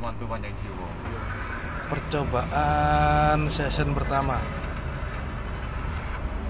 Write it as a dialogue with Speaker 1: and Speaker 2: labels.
Speaker 1: mantu panjang jiwa
Speaker 2: percobaan season pertama